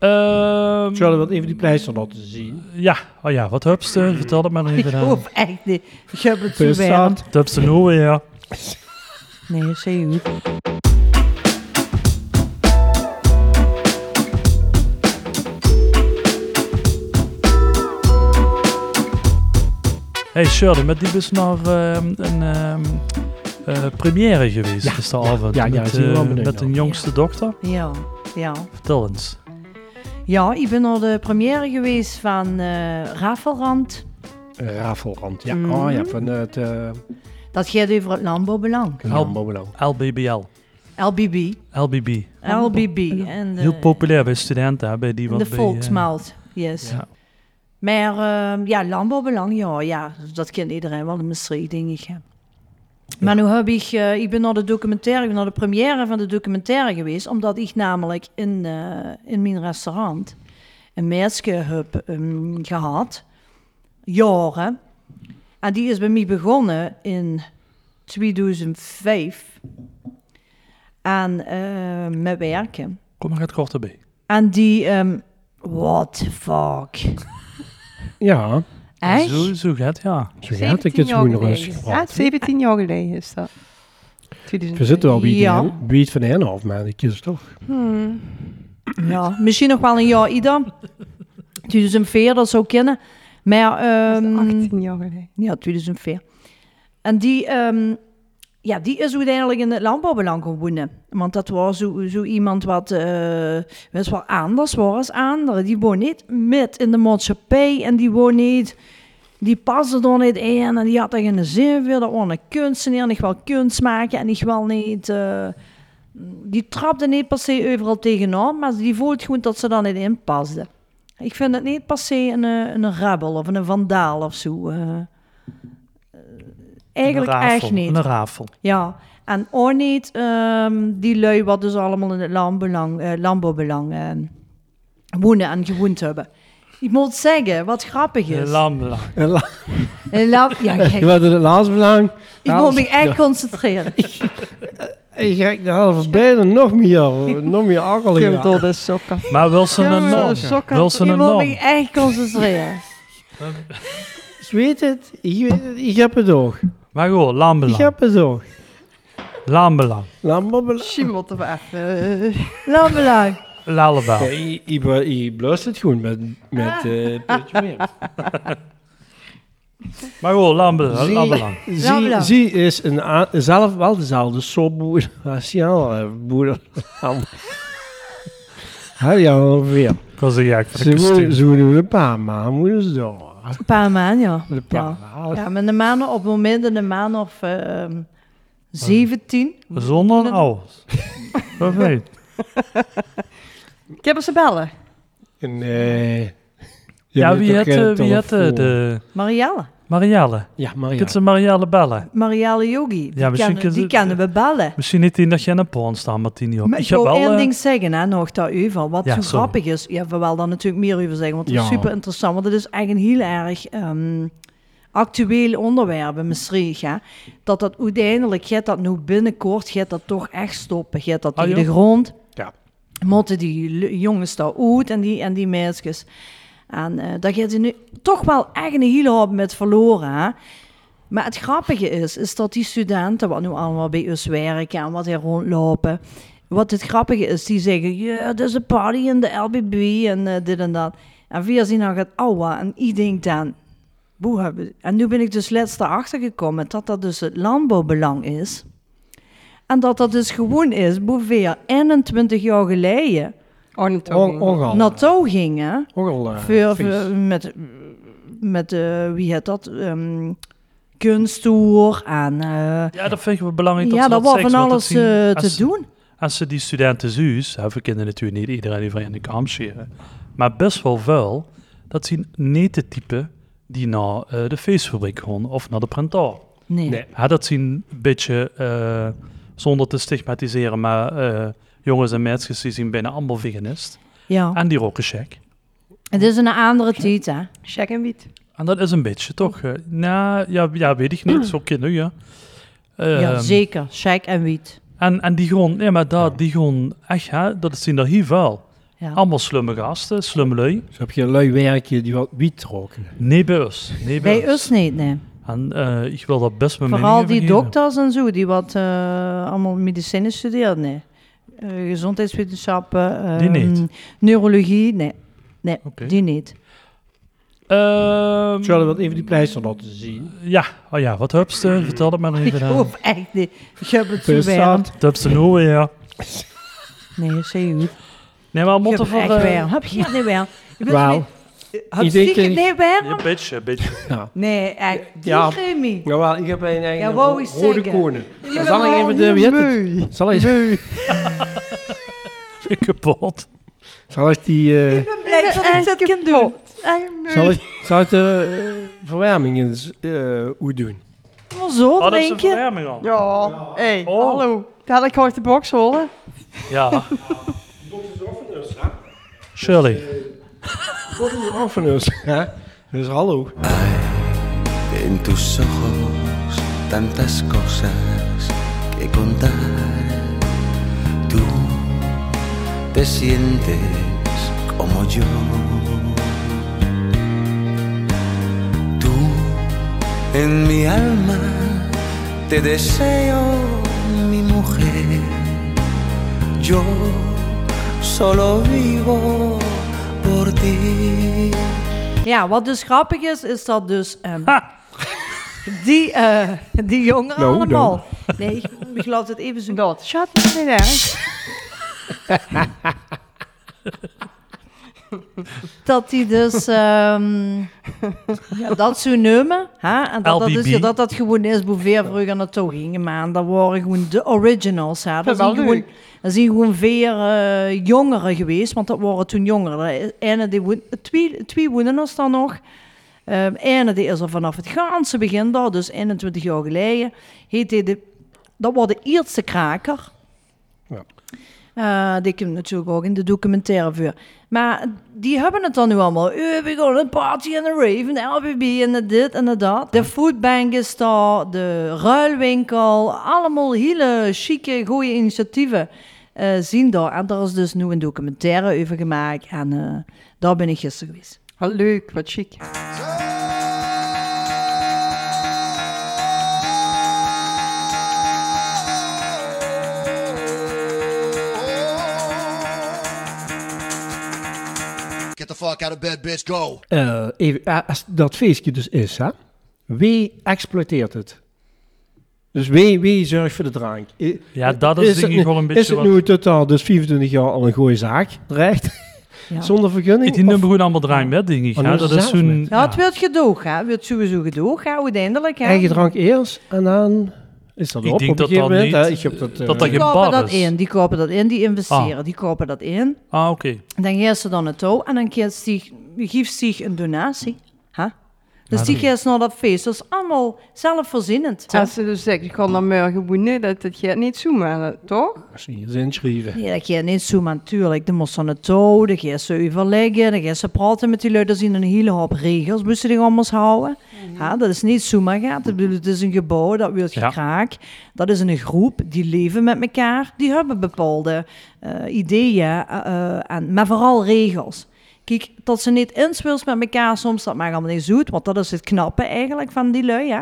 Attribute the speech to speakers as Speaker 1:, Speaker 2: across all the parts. Speaker 1: Ehm,
Speaker 2: Zullen we dat even die prijs dan laten zien?
Speaker 3: Eh,
Speaker 1: Ja, oh ja, wat hupste? Vertel het maar even eh.
Speaker 3: Ik
Speaker 1: aan.
Speaker 3: hoef echt niet. Ik heb het zo weinig.
Speaker 2: Bestaat.
Speaker 1: Het hupste nu weer.
Speaker 3: Nee, zie je
Speaker 1: Hey Shirley, met die bus naar ehm, een ehm, eh, première geweest
Speaker 2: Ja,
Speaker 1: gisteravond.
Speaker 2: ja, ja, ja,
Speaker 1: met,
Speaker 2: zie je wel
Speaker 1: eh,
Speaker 2: meteen
Speaker 1: met
Speaker 2: al.
Speaker 1: een jongste dochter.
Speaker 3: Ja, ja.
Speaker 1: Vertel eens.
Speaker 3: Ja, ik ben naar de première geweest van eh Rafelrand.
Speaker 2: Eh, Rafelrand, ja.
Speaker 3: Mhm.
Speaker 2: Oh ja, van het eh
Speaker 3: Dat gaat over het landbouwbelang.
Speaker 2: Jambobelang.
Speaker 1: LBBL.
Speaker 3: LBB.
Speaker 1: LBB.
Speaker 3: LBB. En eh, de,
Speaker 1: Heel populair bij studenten, hè, bij die wat
Speaker 3: De
Speaker 1: bij,
Speaker 3: volksmalt,
Speaker 1: eh,
Speaker 3: yes.
Speaker 1: ja.
Speaker 3: Maar ehm, ja, landbouwbelang, ja, ja, dat kent iedereen wel in Maastricht, denk ik. hè. Maar nu heb ik, eh, ik ben naar de documentaire, ik ben naar de première van de documentaire geweest, omdat ik namelijk in, eh, in mijn restaurant een meisje heb ehm, gehad, jaren. En die is bij mij begonnen in 2005 aan eh, met werken.
Speaker 1: Kom maar, het kort erbij.
Speaker 3: En die, ehm what the fuck?
Speaker 2: Ja,
Speaker 3: Echt?
Speaker 1: Zo, zo gaat ja.
Speaker 2: zo gaat het. Het is gewoon nog eens gepraat.
Speaker 4: 17 jaar geleden is dat.
Speaker 2: We zitten wel bij
Speaker 3: Ja.
Speaker 2: het bij het van de Henhof, maar ik kies toch.
Speaker 3: Ja, misschien nog wel een jaar ieder. 2004, dat zou kennen. Maar, ehm,
Speaker 4: 18 jaar geleden.
Speaker 3: ja, 2004. En die, ehm, ja, die is uiteindelijk in het landbouwbelang gaan wonen. Want dat was zo, zo iemand wat eh, best wel anders was als anderen. Die woont niet met in de maatschappij en die woont niet... Die paste er niet in en die had er geen zin voor. Dat was een kunstenaar en ik wil kunst maken en ik wil niet... eh, die trapte niet per se overal tegenaan, maar die voelt gewoon dat ze daar niet in paste. Ik vind het niet per se een, eh, een rebel of een vandaal of zo. eh. Eh, eigenlijk
Speaker 1: Een rafel,
Speaker 3: echt niet.
Speaker 1: Een rafel.
Speaker 3: Ja, en ook niet ehm, die lui wat dus allemaal in het landbelang, eh, landbouwbelang eh, wonen en gewoond hebben. Ik moet zeggen, wat grappig
Speaker 1: Een
Speaker 3: is.
Speaker 1: Eh, lambela.
Speaker 2: En la-
Speaker 3: Een lam- ja,
Speaker 2: Je
Speaker 3: kijk,
Speaker 2: had het laatste belang.
Speaker 3: ik moet me echt concentreren.
Speaker 2: Ik gek, dat was bijna nog meer, nog meer
Speaker 4: Veel
Speaker 2: akelig.
Speaker 4: dode sokken.
Speaker 1: Maar eh, Wilson
Speaker 4: Ja,
Speaker 1: en
Speaker 4: maar
Speaker 1: Norm.
Speaker 4: sokken.
Speaker 1: Wilson
Speaker 3: Ik
Speaker 1: en
Speaker 3: moet
Speaker 1: Norm.
Speaker 3: me echt concentreren.
Speaker 2: Ik weet het, ik weet het, ik heb het ook.
Speaker 1: Maar gewoon,
Speaker 2: Ik
Speaker 1: lambelang.
Speaker 2: heb het ook.
Speaker 1: Lambelang.
Speaker 2: Lambobelang.
Speaker 4: Schimmelten we even.
Speaker 3: Landbelang.
Speaker 1: Lalebel.
Speaker 2: Je ja, blust het gewoon met,
Speaker 3: Ah.
Speaker 2: met eh, Peter Meer.
Speaker 1: Maar gewoon, lambelang.
Speaker 2: Zie-
Speaker 1: lambelang.
Speaker 2: Zie,
Speaker 3: Lambelang.
Speaker 2: zie is een a- zelf wel dezelfde soapboer als jouw eh, boer. Hij ja ongeveer.
Speaker 1: Ik was een gek voor
Speaker 2: Ze
Speaker 1: de
Speaker 2: moeten
Speaker 1: kostuum.
Speaker 2: ze moeten een paar maanden moeten ze door.
Speaker 3: Een paar maanden, ja.
Speaker 2: Een paar maanden.
Speaker 3: Ja, met een maan op het moment in een maan of eh, ehm, 17.
Speaker 1: Zonder een alles. Of niet?
Speaker 4: Ik heb ze bellen.
Speaker 2: Nee. eh, Je
Speaker 1: Ja,
Speaker 2: hebt
Speaker 1: wie
Speaker 2: toch
Speaker 1: had,
Speaker 2: geen
Speaker 1: eh, wie had de,
Speaker 2: telefoon?
Speaker 1: de...
Speaker 3: Marielle.
Speaker 1: Marielle.
Speaker 2: Ja, maar ja.
Speaker 1: Kunt ze Marielle bellen?
Speaker 3: Marielle Yogi. Die,
Speaker 1: Ja, misschien
Speaker 3: kennen,
Speaker 1: kunnen ze-
Speaker 3: die kennen we bellen.
Speaker 1: Misschien niet in dat jij een porn staan, Martini. Op.
Speaker 3: Maar ik wil
Speaker 1: eh,
Speaker 3: één ding zeggen, hè, nog dat over. Wat
Speaker 1: Ja,
Speaker 3: zo
Speaker 1: sorry.
Speaker 3: grappig is, ja, we wel daar natuurlijk meer over zeggen, want het is
Speaker 2: Ja.
Speaker 3: super interessant. Want het is eigenlijk een heel erg ehm, actueel onderwerp in Maastricht. Hè, dat dat uiteindelijk, gaat dat nu binnenkort, gaat dat toch echt stoppen. Gaat dat
Speaker 1: Ah,
Speaker 3: tegen
Speaker 1: joh.
Speaker 3: de grond.
Speaker 2: Ja.
Speaker 3: Motten die l- jongens daar uit en die, en die meisjes. En eh daar gaat ze nu toch wel echt een hele hoop met verloren. Hè? Maar het grappige is, is dat die studenten, wat nu allemaal bij ons werken en wat er rondlopen. Wat het grappige is, die zeggen, ja, yeah, is een party in de LBB en eh, dit en dat. En via zien dan gaat ouwe en ik denk dan, boe hebben. En nu ben ik dus laatst erachter gekomen dat dat dus het landbouwbelang is. En dat dat dus gewoon is, ongeveer 21 jaar geleden,
Speaker 2: On-
Speaker 4: Ornithologie.
Speaker 1: Oh.
Speaker 2: Ongal.
Speaker 3: naartoe gingen.
Speaker 2: Ongal. eh,
Speaker 3: Voor,
Speaker 2: vies.
Speaker 3: voor- met, met eh, wie heet dat? ehm kunsttoer en... eh,
Speaker 1: Ja, dat vinden we belangrijk.
Speaker 3: ja,
Speaker 1: ze
Speaker 3: dat was van
Speaker 1: want
Speaker 3: alles
Speaker 1: zien-
Speaker 3: eh,
Speaker 1: als
Speaker 3: te
Speaker 1: ze-
Speaker 3: doen.
Speaker 1: Als ze die studenten zuus, hè, we kennen natuurlijk niet iedereen die van in de kamp scheren, maar best wel vuil, dat zien niet de typen die naar eh, de feestfabriek gaan of naar de printer.
Speaker 3: Nee.
Speaker 2: Nee.
Speaker 1: Ja, dat zien een beetje, eh, zonder te stigmatiseren, maar eh, jongens en meisjes die zien bijna allemaal veganist.
Speaker 3: Ja.
Speaker 1: En die roken check.
Speaker 3: Het is een andere tijd, hè?
Speaker 4: Check en wiet.
Speaker 1: En dat is een beetje toch, eh, nou ja, ja, weet ik niet, zo kind nu ja.
Speaker 3: ja,
Speaker 1: Ehm,
Speaker 3: zeker. Shake en wiet.
Speaker 1: En, en die gewoon, nee, maar dat, die gewoon, echt, hè, dat zien er hier wel.
Speaker 3: Ja.
Speaker 1: Allemaal slumme gasten, slumme lui.
Speaker 2: Dus heb je een lui werkje die wat wiet roken.
Speaker 1: Nee bij ons. Nee bij
Speaker 3: Bij ons niet, nee.
Speaker 1: En eh, ik wil dat best mijn
Speaker 3: Vooral
Speaker 1: mening
Speaker 3: die
Speaker 1: even geven.
Speaker 3: dokters en zo, die wat eh, allemaal medicijnen studeerden, nee. Eh, gezondheidswetenschappen,
Speaker 1: Die
Speaker 3: ehm,
Speaker 1: niet?
Speaker 3: neurologie, nee. Nee,
Speaker 1: Oké.
Speaker 3: die niet.
Speaker 1: Ehm,
Speaker 2: Zullen we wat even die pleister laten zien?
Speaker 1: Ja, oh ja, wat hupste? Vertel het maar
Speaker 3: Ik
Speaker 1: even aan.
Speaker 3: hoop echt niet. Ik heb het zo warm.
Speaker 2: Bestaat.
Speaker 1: Het hupste nou, ja.
Speaker 3: Nee, zeg je goed.
Speaker 1: Nee, maar
Speaker 3: Ik heb
Speaker 1: motten
Speaker 3: het
Speaker 1: voor...
Speaker 3: echt
Speaker 1: eh,
Speaker 3: warm. Heb je het niet warm? Je bent
Speaker 2: Wel,
Speaker 3: niet-
Speaker 2: ik
Speaker 3: Heb je
Speaker 2: denk
Speaker 3: het
Speaker 2: dat-
Speaker 3: niet warm?
Speaker 1: Een beetje, een beetje.
Speaker 2: ja.
Speaker 3: Nee, echt. Die
Speaker 2: Ja.
Speaker 3: Remy.
Speaker 2: Jawel, ik heb een eigen
Speaker 3: Ja, wou eens
Speaker 2: rode
Speaker 3: zeggen.
Speaker 2: konen.
Speaker 3: bent
Speaker 2: Zal ik
Speaker 3: wel
Speaker 2: even de... Wie heet het?
Speaker 4: Mui.
Speaker 2: Zal ik,
Speaker 1: Ik kapot.
Speaker 2: zal ik die... eh,
Speaker 3: Blijf dat ik dat kan doen.
Speaker 2: zal, ik, zal ik de eh, verwarming eens eh, hoe doen?
Speaker 3: Maar zo
Speaker 1: Oh, dat is een
Speaker 3: drinken.
Speaker 1: verwarming al. Ja.
Speaker 4: Ja, hey,
Speaker 1: Oh.
Speaker 4: hallo. Daar had ik hoort de box holen.
Speaker 1: Shirley.
Speaker 2: Wat is er van ons? Ja, dus hallo.
Speaker 5: En tus ojos tantas cosas que contar. Tú te sientes como yo. Tú en mi alma te deseo mi mujer. Yo solo vivo por ti.
Speaker 3: Ja, wat dus grappig is, is dat dus... ehm, die, eh, die jongeren
Speaker 2: Nou,
Speaker 3: allemaal. Nee, ik, ik laat het even zo...
Speaker 4: Dat, shut me niet erg.
Speaker 3: dat die dus ehm, ja, dat zo nemen. Hè? En dat dat,
Speaker 1: LBB.
Speaker 3: is, ja, dat dat gewoon is, boeveer vroeger naartoe gingen. Maar dat waren gewoon de originals. Hè? Dat,
Speaker 4: Dat is
Speaker 3: zijn
Speaker 4: wel
Speaker 3: gewoon,
Speaker 4: leuk.
Speaker 3: dat zijn gewoon vier eh, jongeren geweest, want dat waren toen jongeren. De Ene die woon, twee, twee woonden ons dan nog. Ehm ene die is er vanaf het ganse begin daar, dus 21 jaar geleden, heet hij de, dat was de eerste kraker.
Speaker 2: Ja.
Speaker 3: Eh, die komt natuurlijk ook in de documentaire voor. Maar die hebben het dan nu allemaal. Eh, We gaan een party en een rave en LBB en de dit en de dat. De foodbank is daar, de ruilwinkel. Allemaal hele chique, goede initiatieven eh, zien daar. En daar is dus nu een documentaire over gemaakt. En eh, daar ben ik gisteren geweest.
Speaker 4: Ah, Leuk, wat chic.
Speaker 6: Get the fuck out of bed, bitch. Go.
Speaker 2: Eh, even, eh, als dat feestje dus is, hè? wie exploiteert het? Dus wie, wie zorgt voor de drank? I-
Speaker 1: Ja, dat is,
Speaker 2: het
Speaker 1: denk
Speaker 2: nu-
Speaker 1: ik wel een
Speaker 2: Is
Speaker 1: beetje
Speaker 2: het
Speaker 1: wat...
Speaker 2: nu totaal dus 25 jaar al een goeie zaak, dreigt,
Speaker 3: Ja.
Speaker 2: zonder vergunning?
Speaker 1: Die
Speaker 2: Of-
Speaker 1: nummer goed allemaal draaien met, denk ik.
Speaker 2: Oh,
Speaker 1: hè.
Speaker 2: nu
Speaker 1: Dat
Speaker 2: zelf
Speaker 1: is zo'n...
Speaker 2: met.
Speaker 3: Ja, het wordt gedoog, hè. Het wordt sowieso gedoog, hè, uiteindelijk. Hè.
Speaker 2: Eigen drank eerst en dan is dat
Speaker 1: Ik
Speaker 2: op
Speaker 1: denk
Speaker 2: op
Speaker 1: dat
Speaker 2: een gegeven
Speaker 1: dat
Speaker 2: moment.
Speaker 1: niet-
Speaker 2: hè? Ik heb dat,
Speaker 1: dat
Speaker 2: eh,
Speaker 1: dat
Speaker 3: Die
Speaker 1: geen bar
Speaker 3: kopen dat
Speaker 1: is.
Speaker 3: in, die kopen dat in, die investeren, die kopen dat in.
Speaker 1: Ah, oké.
Speaker 3: Dan geeft ze dan het touw en dan geeft ze, geeft ze een donatie. hè? Dus die geeft naar dat feest. Dat is allemaal zelfvoorzienend.
Speaker 4: Als ze dus zegt, ik ga naar morgen woenen, dat, dat gaat niet zoomen, toch?
Speaker 2: als je hier zin schrijven.
Speaker 3: Ja, dat je niet zo, maar natuurlijk. Dan moest ze aan het touw, dan geeft ze overleggen, dan geeft ze praten met die lui. Er zijn een hele hoop regels, moesten die anders houden. Ja, dat is niet zomaar gaat. Ik bedoel, het is een gebouw, dat wordt
Speaker 1: Ja.
Speaker 3: gekraakt. Dat is een groep, die leven met elkaar. Die hebben bepaalde eh, ideeën, eh, eh, en, maar vooral regels. Kijk, dat ze niet inspeels met elkaar soms, dat mag allemaal niet zoet. Want dat is het knappe eigenlijk van die lui, hè.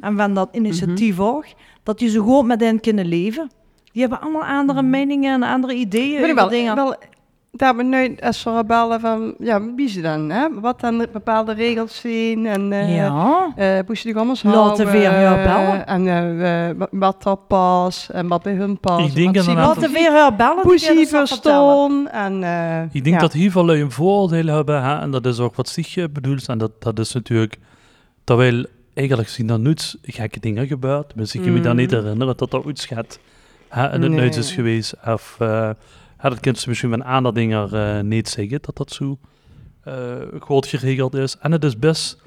Speaker 3: En van dat initiatief ook. Dat die zo goed met hen kunnen leven. Die hebben allemaal andere meningen en andere ideeën.
Speaker 4: Ik ben
Speaker 3: over
Speaker 4: wel,
Speaker 3: dingen.
Speaker 4: wel daar benieuwd als we rebellen van, ja, wie ze dan, hè? Wat dan de bepaalde regels zijn en... eh,
Speaker 3: ja.
Speaker 4: eh moest je die allemaal
Speaker 3: Laten we weer
Speaker 4: eh,
Speaker 3: jou bellen.
Speaker 4: En eh, eh, wat- wat dat pas, en wat bij hun pas.
Speaker 1: Ik denk
Speaker 4: en wat ze-
Speaker 1: inderdaad-
Speaker 4: wat
Speaker 3: Laten we weer haar bellen. die
Speaker 4: Poesie
Speaker 3: kunnen ze vertellen.
Speaker 4: verstoon en... eh,
Speaker 1: Ik denk
Speaker 4: ja.
Speaker 1: dat heel veel lui een vooroordeel hebben. Hè? En dat is ook wat zich eh, bedoelt. En dat, dat is natuurlijk... Terwijl eigenlijk zien er niets gekke dingen gebeurd. Dus ik kan me dan niet herinneren dat er iets gaat. Hè? En het
Speaker 4: Mm. Nee.
Speaker 1: nooit is geweest. Of eh, hè, dat kind ze misschien van aan dat ding er eh, niet zeggen. Dat dat zo eh goed geregeld is. En het is best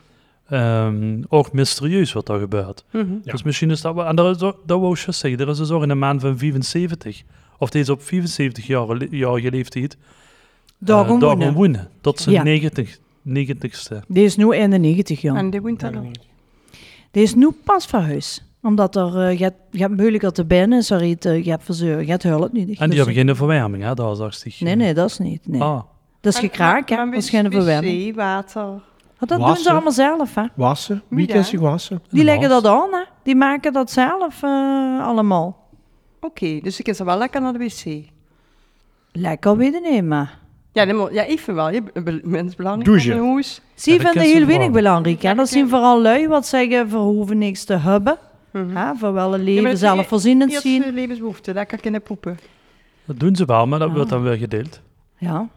Speaker 1: ehm, ook mysterieus wat er gebeurt.
Speaker 4: Mhm.
Speaker 2: Ja.
Speaker 1: Dus misschien is dat wel... En dat, is ook- dat wou ik juist zeggen. Er is dus ook in de maand van 75... Of deze op 75 jaar, jaar leeftijd
Speaker 3: Dag om
Speaker 1: eh, Dag
Speaker 3: woenen.
Speaker 1: om woenen. Dat is de
Speaker 3: Ja.
Speaker 1: 90, 90ste.
Speaker 3: Die is nu 91 jaar.
Speaker 4: En die woont dan nog.
Speaker 3: Die is nu pas verhuisd. Omdat er, eh, je, hebt, je hebt moeilijker te binnen, sorry, te, je hebt verzeur, je hebt hulp niet. Dus-
Speaker 1: En die hebben geen verwarming, hè? Dat is
Speaker 3: Nee, nee, dat is niet. Nee.
Speaker 1: Ah,
Speaker 3: Dat is gekraak, hè? Dat is geen verwarming.
Speaker 4: Wc, water.
Speaker 3: Maar Dat doen ze
Speaker 2: Wassen.
Speaker 3: allemaal zelf, hè?
Speaker 2: Wassen,
Speaker 4: Wie dan?
Speaker 2: weekendje wassen.
Speaker 3: Die leggen
Speaker 1: was.
Speaker 3: dat aan, hè? Die maken dat zelf eh, allemaal.
Speaker 4: Oké, dus ik kan ze wel lekker naar de wc.
Speaker 3: Lekker weten niet, maar...
Speaker 4: Ja, nee, maar- ja even wel. Je be- be- mens belangrijk.
Speaker 2: Douchen.
Speaker 4: op een hoes.
Speaker 1: Ja,
Speaker 3: Ze
Speaker 1: dat
Speaker 3: vinden
Speaker 1: kent ze
Speaker 3: heel
Speaker 1: wel.
Speaker 3: weinig belangrijk. Hè? Dat
Speaker 7: eh,
Speaker 3: zien vooral lui wat zeggen, we hoeven niks te hebben.
Speaker 7: Hm.
Speaker 3: hè? Voor wel een leven
Speaker 4: dat is
Speaker 3: zelfvoorzienend
Speaker 4: Eerste
Speaker 3: Mhm. zien.
Speaker 4: levensbehoefte, lekker kunnen poepen.
Speaker 1: dat doen ze wel, maar
Speaker 3: Ah.
Speaker 1: dat wordt dan weer gedeeld.
Speaker 3: Ja.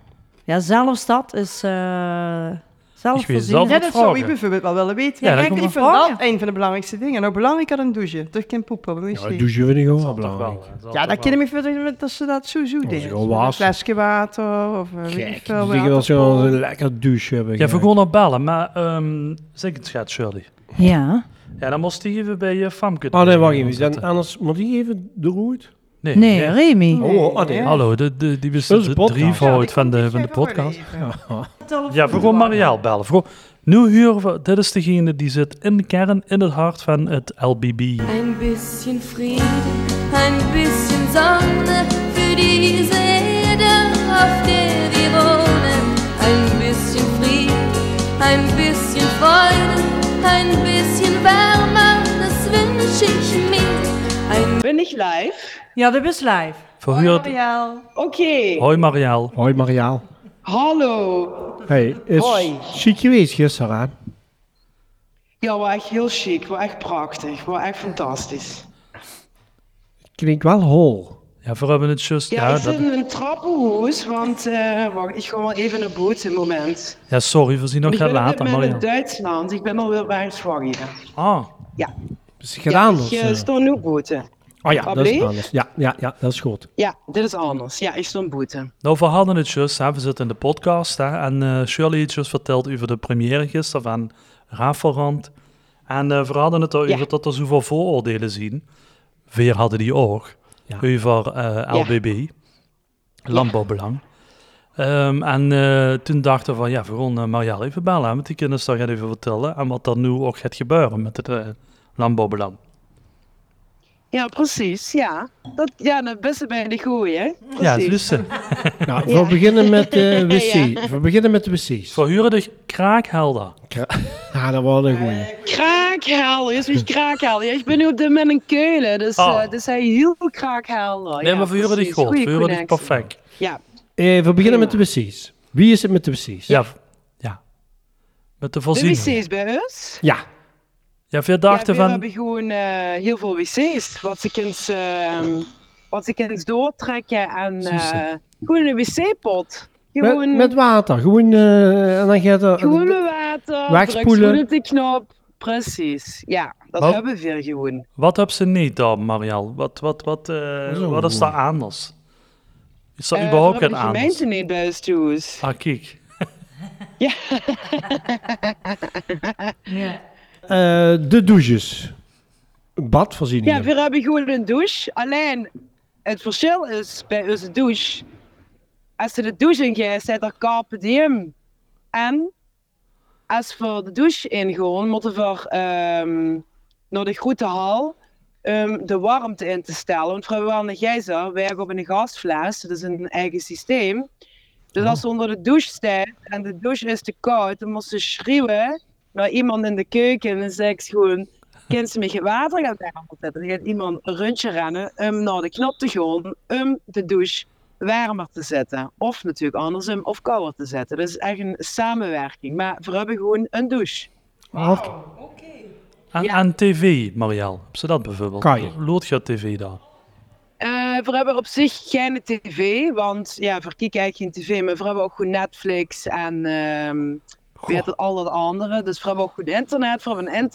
Speaker 3: ja, zelfs dat is eh zelfvoorzienend.
Speaker 1: zelf-
Speaker 4: Ja,
Speaker 1: wat
Speaker 4: dat zou
Speaker 1: vragen.
Speaker 4: ik bijvoorbeeld wel willen weten.
Speaker 1: Ja,
Speaker 4: Ja,
Speaker 1: dat
Speaker 4: ik
Speaker 1: kan
Speaker 4: vind
Speaker 3: wel.
Speaker 4: dat een van de belangrijkste dingen. Nou, belangrijker dan douchen. Dat kan poepen. op een
Speaker 2: Ja,
Speaker 4: wc.
Speaker 2: douchen vind ik gewoon wel
Speaker 1: Zal toch
Speaker 2: belangrijk.
Speaker 1: hè? Zal
Speaker 4: Ja,
Speaker 1: toch
Speaker 4: dan
Speaker 1: wel.
Speaker 4: kunnen Ah, we verder dat ze dat sowieso
Speaker 2: is
Speaker 4: deden.
Speaker 2: gewoon
Speaker 4: Met Een
Speaker 2: was.
Speaker 4: flesje water of eh, weet ik
Speaker 2: Kijk,
Speaker 4: veel
Speaker 2: dus ik wil
Speaker 1: eh,
Speaker 2: zo'n lekker douche hebben. eh.
Speaker 1: Ja,
Speaker 2: gelijk.
Speaker 1: voor gewoon op bellen, maar ehm, zeg het schat, Shirley.
Speaker 3: Ja,
Speaker 1: Ja, dan moest die even bij je Famke.
Speaker 2: Oh nee, wacht even. Dan,
Speaker 1: zitten.
Speaker 2: anders moet die even de roet.
Speaker 1: Nee,
Speaker 3: nee,
Speaker 1: nee.
Speaker 3: Remy.
Speaker 4: Nee.
Speaker 2: Oh, oh, nee.
Speaker 4: Ja.
Speaker 1: Hallo, de, de, die was
Speaker 2: Dat is
Speaker 1: de
Speaker 2: een podcast.
Speaker 1: drievoud van de, van de podcast. Ja, voor gewoon
Speaker 4: Marielle.
Speaker 1: Marielle bellen. Voor, nu huren we, dit is degene die zit in de kern, in het hart van het LBB.
Speaker 8: Ein bisschen Friede, ein bisschen Sonne für diese Erde, auf der wir wohnen. Ein bisschen Friede, ein bisschen Freude, ein bisschen Wärme, das wünsche ich mir. Ein
Speaker 7: Ben ik live?
Speaker 3: Ja, dat is live.
Speaker 1: Verhuurd.
Speaker 7: Oké.
Speaker 1: Hoi Marielle.
Speaker 2: Hoi Mariaal.
Speaker 7: Hallo.
Speaker 2: Hey, is
Speaker 7: Hoi.
Speaker 2: ziek geweest gisteren aan?
Speaker 7: Ja, wel echt heel chic. Wel echt prachtig. Wel echt fantastisch.
Speaker 2: Klinkt wel hol.
Speaker 1: Ja, voor hebben het just.
Speaker 7: Ja,
Speaker 1: Ja,
Speaker 7: ik zit
Speaker 1: dat,
Speaker 7: in een trappenhoes, want eh, wacht, ik ga wel even naar boven een moment.
Speaker 1: ja sorry, we zien nog
Speaker 7: ik ben
Speaker 1: graag
Speaker 7: op dit
Speaker 1: Nou, later,
Speaker 7: moment in
Speaker 1: Marielle.
Speaker 7: Duitsland. Ik ben alweer bij Zwangeren.
Speaker 1: Ah,
Speaker 2: Is het gedaan? of
Speaker 7: ik eh,
Speaker 2: zo?
Speaker 7: stond nu boeten.
Speaker 2: oh ja, dat is
Speaker 7: Ablee?
Speaker 2: anders. Ja, ja, ja, dat is goed.
Speaker 7: Ja, dit is anders. Ja, ik stond boeten.
Speaker 1: nou we hadden het just, hè. we zitten in de podcast. Hè, en eh, Shirley heeft just verteld over de première gisteren van Rafelrand. En eh, we hadden het erover
Speaker 7: Ja.
Speaker 1: dat er zoveel vooroordelen zien. Weer hadden die ook.
Speaker 2: Ja.
Speaker 1: Over eh, LBB, landbouwbelang. Ehm, en eh, toen dachten we van, ja, we gaan eh, Marielle even bellen. hè, Want die kunnen ons daar even vertellen. En wat er nu ook gaat gebeuren met het eh, landbouwbelang.
Speaker 7: Ja, precies. Ja, dat, ja dat beste bij de goeie, hè?
Speaker 1: Ja,
Speaker 7: Precies.
Speaker 1: dus... eh,
Speaker 2: Nou, we beginnen met de wc. We beginnen met de wc's.
Speaker 1: Verhuren de kraakhelder.
Speaker 2: Ja, dat was een goeie.
Speaker 7: Kraakhelder, is wie kraakhelder. Ja, ik ben nu op dit moment in Keulen, dus,
Speaker 1: Ah.
Speaker 7: eh, dus hij heel veel kraakhelder.
Speaker 1: Nee, maar verhuren
Speaker 7: Oh precies.
Speaker 1: dit goed.
Speaker 7: Goeie
Speaker 1: Verhuren dit
Speaker 7: connectie.
Speaker 1: perfect.
Speaker 7: Ja,
Speaker 2: Eh, we beginnen met de wc's. Wie is het met de wc's?
Speaker 1: Ja. v- ja. Met de
Speaker 7: de
Speaker 1: voorziening.
Speaker 7: wc's bij ons.
Speaker 2: Ja.
Speaker 1: Ja, veel
Speaker 7: Ja,
Speaker 1: dachten
Speaker 7: we
Speaker 1: van...
Speaker 7: hebben gewoon eh, heel veel wc's, wat ik eens, ehm, wat ik eens doortrekken en eh, gewoon een wc-pot.
Speaker 2: Met,
Speaker 7: Gewoon,
Speaker 2: met water. Gewoon, eh, en dan gaat er...
Speaker 7: gewoon water,
Speaker 2: Wegspoelen.
Speaker 7: druk goed op de knop. Precies, ja, dat
Speaker 1: Wat?
Speaker 7: hebben we veel gewoon.
Speaker 1: Wat heb ze niet dan, Marielle? Wat, wat, wat, eh,
Speaker 2: is ook
Speaker 1: wat is
Speaker 2: goed.
Speaker 1: daar anders? Is dat
Speaker 7: Eh,
Speaker 1: überhaupt
Speaker 7: dat
Speaker 1: geen
Speaker 7: hebben de
Speaker 1: anders?
Speaker 7: gemeente niet bij ons toe is.
Speaker 1: Ah, kijk.
Speaker 2: Eh, de douches. Badvoorzieningen.
Speaker 7: Ja, we hebben gewoon een douche. Alleen het verschil is bij onze douche. Als ze de douche ingaan, zit er carpe diem. En als we de douche ingaan, moeten we ehm, naar de groentehal ehm de warmte in te stellen. Want vrouw Wan en Gijzer werken op een gasfles, dat is een eigen systeem. Dus als ze onder de douche staat en de douche is te koud, dan moet ze schreeuwen naar iemand in de keuken en dan zegt ze gewoon... Kind ze met je water gaan zetten. Dan gaat iemand een rondje rennen om naar de knop te gaan, om de douche warmer te zetten. Of natuurlijk andersom, of kouder te zetten. Dus echt een samenwerking. Maar we hebben gewoon een douche.
Speaker 2: Af-
Speaker 1: En, en tv, Marielle. Heb ze dat bijvoorbeeld?
Speaker 2: Kan je.
Speaker 1: Loodt je tv daar?
Speaker 7: Eh, we hebben op zich geen tv, want ja, we kijken eigenlijk geen tv, maar we hebben ook goed Netflix en ehm weet het, al dat andere. Dus we hebben ook goed internet, we hebben een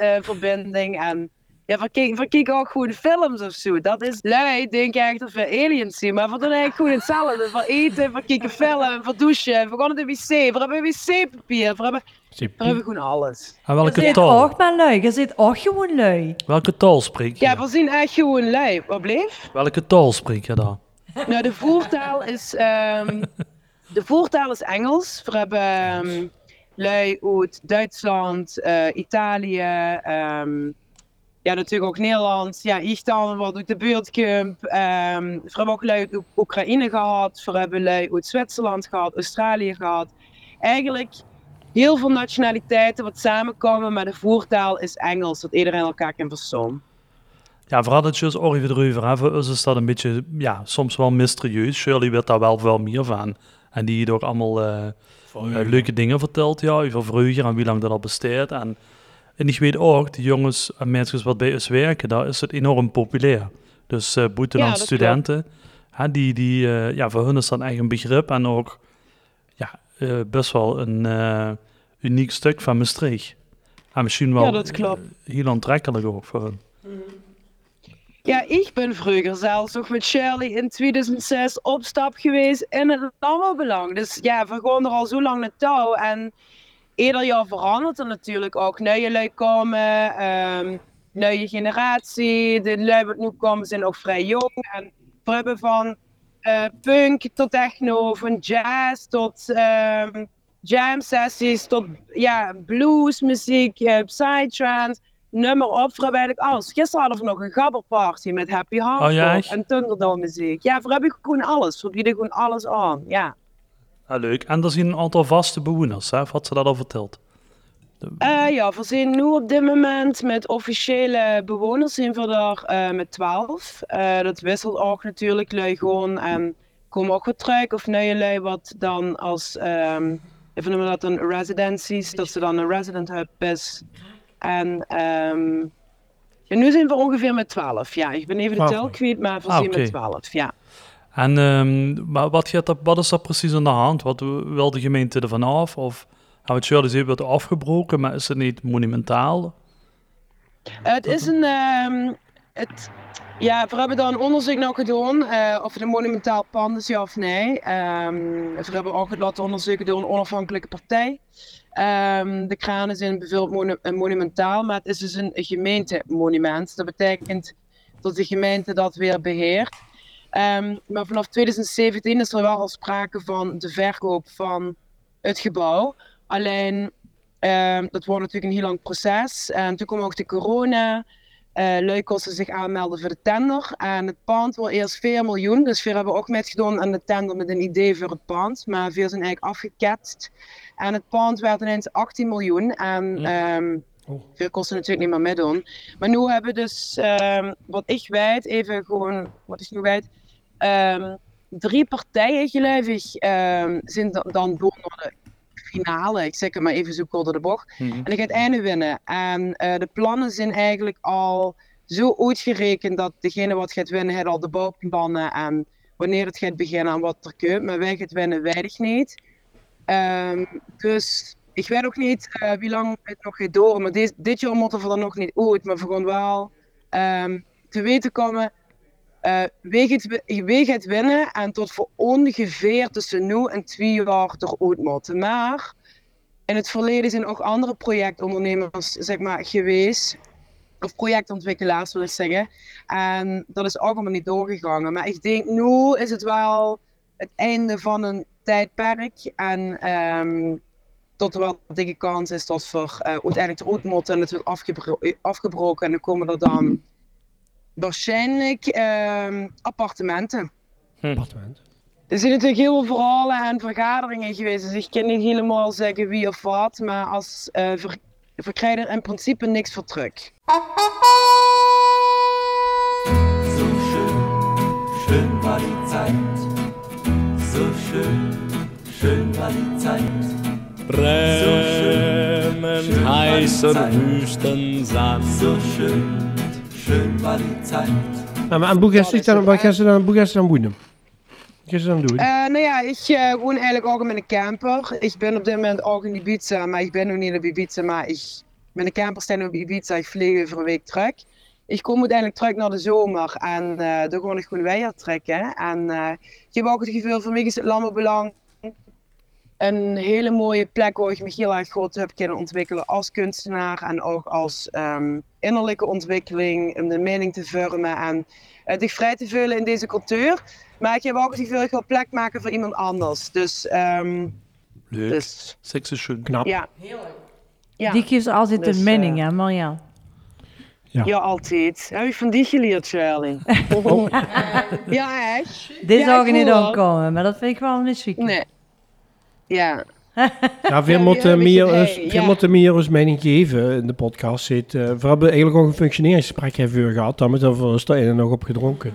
Speaker 7: internetverbinding en ja, we kijken, we kijken ook goede films of zo. Dat is lui, denk ik echt dat we aliens zien, maar we doen eigenlijk gewoon hetzelfde. We eten, we kijken film, we douchen, we gaan naar de wc, we hebben wc-papier, we hebben, we hebben gewoon alles.
Speaker 1: En
Speaker 3: Je
Speaker 1: welke
Speaker 3: zit
Speaker 1: taal?
Speaker 3: ook maar lui. Je zit ook gewoon lui.
Speaker 1: Welke taal spreek je?
Speaker 7: Ja, we zien echt gewoon lui. Wat bleef?
Speaker 1: Welke taal spreek je daar?
Speaker 7: Nou, de voertaal is, ehm, de voertaal is Engels. We hebben ehm, lui uit Duitsland, eh, Italië, ehm, ja, natuurlijk ook Nederland. Ja, ik dan, wat ook de buurtcamp. ehm we hebben ook leuk uit Oekraïne gehad. We hebben leuk uit Zwitserland gehad, Australië gehad. Eigenlijk heel veel nationaliteiten wat samenkomen, maar de voertaal is Engels, dat iedereen elkaar kan verstaan.
Speaker 1: Ja, vooral dat juist Orrie erover. hè, Voor ons is dat een beetje, ja, soms wel mysterieus. Shirley weet daar wel veel meer van. En die heeft ook allemaal eh, eh, leuke dingen verteld, ja, over vroeger en wie lang dat al bestaat. En, en ik weet ook, die jongens en meisjes wat bij ons werken, daar is het enorm populair. Dus eh buitenlandse
Speaker 7: Ja, dat
Speaker 1: studenten, hè, die, die, eh, ja, voor hun is dat echt een begrip en ook ja, eh, best wel een eh, uniek stuk van Maastricht. En misschien wel
Speaker 7: Ja, dat klopt.
Speaker 1: heel aantrekkelijk ook voor hun.
Speaker 7: Ja, ik ben vroeger zelfs nog met Shirley in 2006 op stap geweest in het landbouwbelang. Dus ja, we gaan er al zo lang naar touw. En ieder jaar verandert er natuurlijk ook. Nieuwe lui komen, ehm nieuwe generatie. De lui wat nu komen zijn ook vrij jong. En we hebben van eh, punk tot techno, van jazz tot ehm jam sessies, tot ja, bluesmuziek, eh, psytrance nummer op voor eigenlijk alles. Gisteren hadden we nog een gabberparty met Happy Hardcore
Speaker 1: Oh ja, echt?
Speaker 7: en Thunderdome muziek. Ja, voor heb ik gewoon alles. Voor bieden gewoon alles aan. Ja.
Speaker 1: Ja, Ah, leuk. En er zijn een aantal vaste bewoners, hè? of had ze dat al verteld?
Speaker 7: Eh, ja, we zijn nu op dit moment met officiële bewoners zijn we daar eh, met 12. Eh, dat wisselt ook natuurlijk lui gewoon ehm, en komen ook wat terug of nieuwe lui wat dan als, ehm even noemen we dat een residenties, dat ze dan een resident hub is. En ehm, ja, nu zijn we ongeveer met 12. Ja, ik ben even de
Speaker 2: Twaalf.
Speaker 7: tel kwijt, maar we
Speaker 1: Ah,
Speaker 7: zijn
Speaker 1: oké.
Speaker 7: met 12. Ja.
Speaker 1: En ehm, maar wat, gaat dat, wat is dat precies aan de hand? Wat wil de gemeente ervan af? Of hebben we het Shirley zeker wat afgebroken, maar is het niet monumentaal?
Speaker 7: Het is een. ehm, het, ja, we hebben daar een onderzoek naar gedaan eh, of het een monumentaal pand is, ja of nee. Ehm we hebben ook het laten onderzoeken door een onafhankelijke partij. Ehm, de kraan is in beveeld monu- een monumentaal, maar het is dus een gemeentemonument. Dat betekent dat de gemeente dat weer beheert. Ehm, maar vanaf 2017 is er wel al sprake van de verkoop van het gebouw. Alleen Ehm, dat wordt natuurlijk een heel lang proces. En toen kwam ook de corona. Eh lui kosten zich aanmelden voor de tender. En het pand wil eerst 4 miljoen. Dus we hebben ook meegedaan aan de tender met een idee voor het pand. Maar veel zijn eigenlijk afgeketst. En het pand werd ineens 18 miljoen. En ehm veel kosten natuurlijk niet meer meedoen. Maar nu hebben we dus, ehm, wat ik weet, even gewoon, wat ik nu weet. ehm, drie partijen, geloof ik, ehm, zijn da- dan door naar de finale. Ik zeg het maar even zo kort door de bocht. En ik ga het einde winnen. En eh, de plannen zijn eigenlijk al zo uitgerekend dat degene wat gaat winnen, heeft al de bouwplannen en wanneer het gaat beginnen en wat er komt. Maar wij gaat winnen, weet ik niet. Ehm, dus ik weet ook niet eh, wie lang het nog gaat door. Maar dit, dit jaar moeten we er nog niet uit. Maar we gaan wel ehm, te weten komen. eh wie, gaat, wi- wie gaat winnen en tot voor ongeveer tussen nu en twee jaar eruit moeten. Maar in het verleden zijn ook andere projectondernemers zeg maar, geweest. Of projectontwikkelaars wil ik zeggen. En dat is ook allemaal niet doorgegaan. Maar ik denk nu is het wel het einde van een tijdperk. En ehm tot er wel een dikke kans is dat voor eh uiteindelijk de roetmotten natuurlijk afgebro afgebroken. En dan komen er dan waarschijnlijk ehm, appartementen.
Speaker 2: appartement.
Speaker 7: Er zijn natuurlijk heel veel verhalen en vergaderingen geweest, dus ik kan niet helemaal zeggen wie of wat, maar als eh ver we krijgen er in principe niks voor terug.
Speaker 5: So schön, schön war die Zeit. So schön, schön war die Zeit.
Speaker 9: Brennend heißer Wüstensand.
Speaker 5: So schön, schön war die Zeit.
Speaker 2: Ja, maar aan Boegest is dan, wat gaan ze dan aan Boegest dan boeien? Wat gaan ze dan doen?
Speaker 7: Eh nou ja, ik eh, woon eigenlijk ook met een camper. Ik ben op dit moment ook in Ibiza, maar ik ben nog niet op Ibiza, maar ik, met een camper staan we op Ibiza, ik vlieg over een week terug. Ik kom uiteindelijk terug naar de zomer en eh dan ga ik gewoon weer trekken. En eh, ik heb ook het gevoel, voor mij is het landbouwbelang een hele mooie plek waar ik me heel erg goed heb kunnen ontwikkelen als kunstenaar en ook als ehm, innerlijke ontwikkeling, om de mening te vormen en eh zich vrij te vullen in deze cultuur. Maar ik heb ook het gevoel, ik wil plek maken voor iemand anders. Dus, ehm
Speaker 1: Leuk.
Speaker 7: dus
Speaker 1: Seks is schön.
Speaker 2: Knap.
Speaker 7: ja. Ja.
Speaker 3: Die geeft altijd
Speaker 7: Dus,
Speaker 3: een mening,
Speaker 7: eh,
Speaker 3: hè, Marjan?
Speaker 2: Ja.
Speaker 7: Ja, altijd. Heb je van die geleerd, Charlie? ja, echt.
Speaker 3: Dit
Speaker 7: Ja,
Speaker 3: zou
Speaker 7: ik
Speaker 3: ik niet
Speaker 7: hoor.
Speaker 3: aankomen, maar dat vind ik wel een chic.
Speaker 7: Nee. Ja.
Speaker 2: Ja, eh, wir
Speaker 7: eh, Ja,
Speaker 2: moeten
Speaker 7: ja,
Speaker 2: meer
Speaker 7: weet je,
Speaker 2: eens-
Speaker 7: nee,
Speaker 2: wir
Speaker 7: ja.
Speaker 2: moeten meer eens eh, mening geven in de podcast. Zit, eh, we hebben eigenlijk ook een functioneringsgesprek hebben we gehad. Daar hebben we ons daar en nog op gedronken.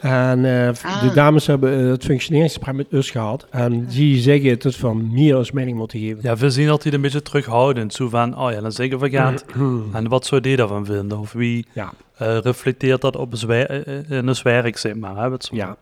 Speaker 2: En eh, de
Speaker 7: Ah.
Speaker 2: dames hebben eh, het functioneringsgesprek met ons gehad. En die zeggen het is van meer als mening moeten geven.
Speaker 1: Ja, we zien altijd een beetje terughoudend. Zo van, oh ja, Hmm. dan zeggen we gaat. En wat zou die daarvan vinden? Of wie
Speaker 2: Mhm. Ja.
Speaker 1: eh, reflecteert dat op ons wer- eh, eh, in ons werk, zeg maar. Hè? wat zo-
Speaker 2: Ja.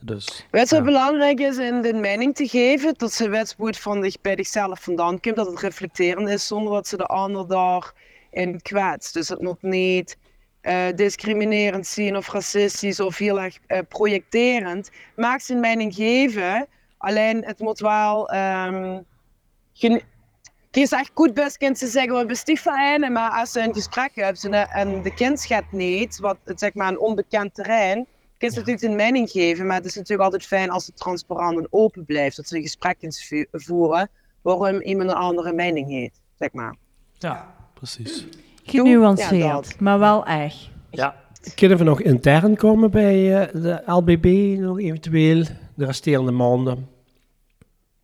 Speaker 1: Dus,
Speaker 7: Weet je wat
Speaker 1: Ja.
Speaker 7: belangrijk is in de mening te geven? Dat ze weet hoe het van zich bij zichzelf vandaan komt. Dat het reflecterend is zonder dat ze de ander daarin kwetst. Dus het moet niet eh, discriminerend zien of racistisch of heel erg eh, projecterend. Maak zijn mening geven. Alleen het moet wel. ehm gen- Kies echt goed best kind te zeggen wat bestief van hen, maar als ze een gesprek hebt en, eh, en de kind gaat niet, wat het zeg maar een onbekend terrein, kun je natuurlijk een mening geven, maar het is natuurlijk altijd fijn als het transparant en open blijft, dat ze een gesprek kunt vu- voeren waarom iemand een andere mening heeft, zeg maar.
Speaker 1: ja, precies.
Speaker 7: Ja,
Speaker 3: Genuanceerd,
Speaker 7: dat.
Speaker 3: maar wel echt.
Speaker 1: Ja,
Speaker 2: Kunnen we nog intern komen bij eh, de LBB nog eventueel de resterende maanden?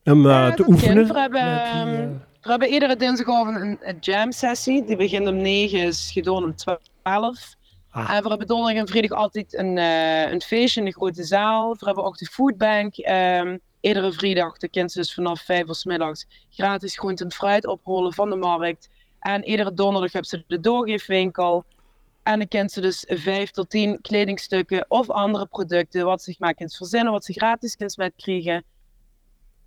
Speaker 2: Om eh,
Speaker 7: Ja,
Speaker 2: te
Speaker 7: dat
Speaker 2: oefenen.
Speaker 7: kind. We hebben,
Speaker 2: Met die, eh,
Speaker 7: ehm, we hebben iedere dinsdagavond een, een jam-sessie. Die begint om 9, is gedaan om 12.
Speaker 2: Ah.
Speaker 7: En we hebben donderdag en vrijdag altijd een, eh, een feestje in de grote zaal. We hebben ook de foodbank. ehm, iedere vrijdag, de kinderen dus vanaf 5 uur 's middags, gratis groente en fruit opholen van de markt. En iedere donderdag hebben ze de doorgeefwinkel. En dan kunnen ze dus vijf tot tien kledingstukken of andere producten, wat zich maar kunt verzinnen, wat ze gratis kunt met krijgen.